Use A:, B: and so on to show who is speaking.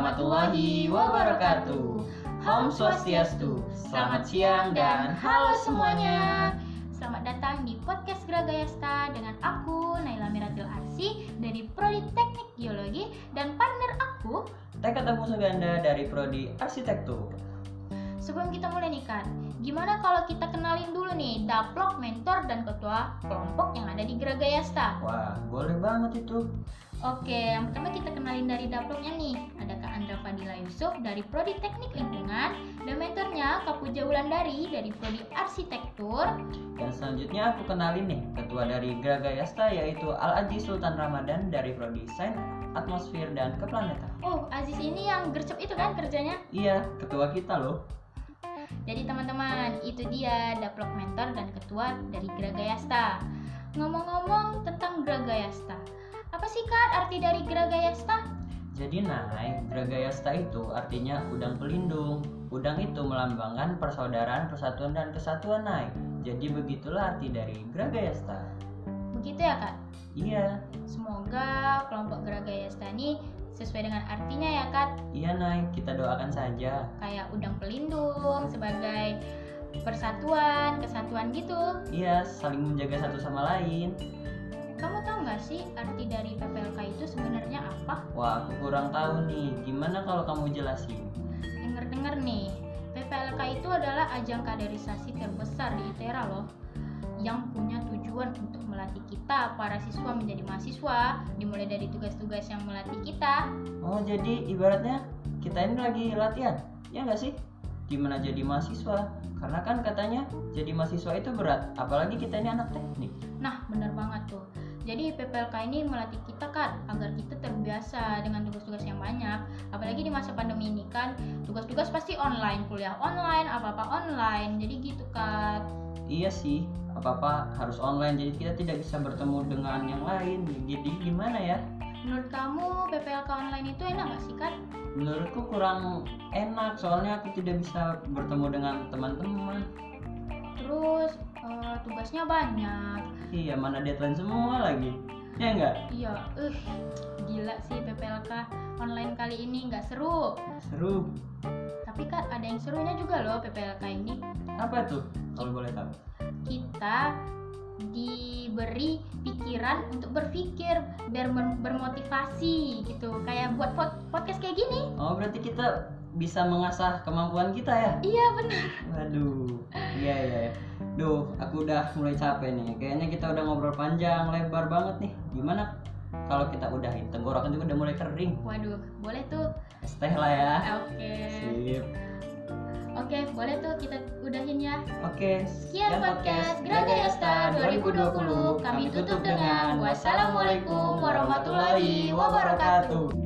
A: warahmatullahi wabarakatuh. Om Swastiastu. Selamat siang dan halo semuanya.
B: Selamat datang di podcast Gragayasta dengan aku Naila Miratil Arsi dari Prodi Teknik Geologi dan partner aku.
A: Tekad Agung Suganda dari Prodi Arsitektur.
B: Sebelum kita mulai nih Kak, gimana kalau kita kenalin dulu nih daplok, mentor, dan ketua kelompok yang ada di Gragayasta?
A: Wah, boleh banget itu.
B: Oke, yang pertama kita kenalin dari daploknya nih. Ada Kak Andra Fadila Yusuf dari Prodi Teknik Lingkungan dan mentornya Kak Puja Wulandari dari Prodi Arsitektur.
A: Dan selanjutnya aku kenalin nih ketua dari Gragayasta yaitu Al Aji Sultan Ramadan dari Prodi Sains Atmosfer dan Keplanetan.
B: Oh, Aziz ini yang gercep itu kan kerjanya?
A: Iya, ketua kita loh.
B: Jadi teman-teman, itu dia daplok mentor dan ketua dari Gragayasta. Ngomong-ngomong tentang Gragayasta, apa sih Kak arti dari Gragayasta?
A: Jadi naik, Gragayasta itu artinya udang pelindung. Udang itu melambangkan persaudaraan, persatuan, dan kesatuan naik. Jadi begitulah arti dari Gragayasta.
B: Begitu ya Kak?
A: Iya,
B: Semoga kelompok Gragayasta ini sesuai dengan artinya ya Kak,
A: iya naik, kita doakan saja.
B: kayak udang pelindung sebagai persatuan, kesatuan gitu.
A: Iya, saling menjaga satu sama lain.
B: Kamu tahu nggak sih arti dari PPLK itu sebenarnya apa?
A: Wah, aku kurang tahu nih. Gimana kalau kamu jelasin?
B: Dengar-dengar nih, PPLK itu adalah ajang kaderisasi terbesar di ITERA loh yang punya tujuan untuk melatih kita para siswa menjadi mahasiswa dimulai dari tugas-tugas yang melatih kita
A: Oh, jadi ibaratnya kita ini lagi latihan, ya nggak sih? Gimana jadi mahasiswa? Karena kan katanya jadi mahasiswa itu berat, apalagi kita ini anak teknik.
B: nah bener banget tuh jadi PPLK ini melatih kita kan agar kita terbiasa dengan tugas-tugas yang banyak apalagi di masa pandemi ini kan tugas-tugas pasti online kuliah online apa-apa online jadi gitu kan
A: Iya sih, apa-apa harus online, jadi kita tidak bisa bertemu dengan yang lain. Jadi gimana ya?
B: menurut kamu PPLK online itu enak gak sih kan
A: Menurutku kurang enak, soalnya aku tidak bisa bertemu dengan teman-teman.
B: Terus eh, tugasnya banyak.
A: Iya, mana deadline semua lagi. Ya nggak?
B: Iya, eh gila sih PPLK online kali ini nggak seru.
A: Seru.
B: Tapi kan ada yang serunya juga loh PPLK ini.
A: Apa tuh? Kalau boleh tahu.
B: Kita diberi pikiran untuk berpikir biar ber- bermotivasi gitu kayak buat pod- podcast kayak gini
A: Oh, berarti kita bisa mengasah kemampuan kita ya?
B: iya bener
A: Waduh, iya iya. iya. Duh, aku udah mulai capek nih. Kayaknya kita udah ngobrol panjang, lebar banget nih. Gimana kalau kita udahin? Tenggorokan juga udah mulai kering.
B: waduh boleh tuh
A: Es teh lah ya.
B: oke
A: Sip.
B: oke boleh tuh kita udahin ya
A: Oke,
B: Sekian podcast Gragayasta 2020. Kami tutup dengan Wassalamualaikum warahmatullahi wabarakatuh.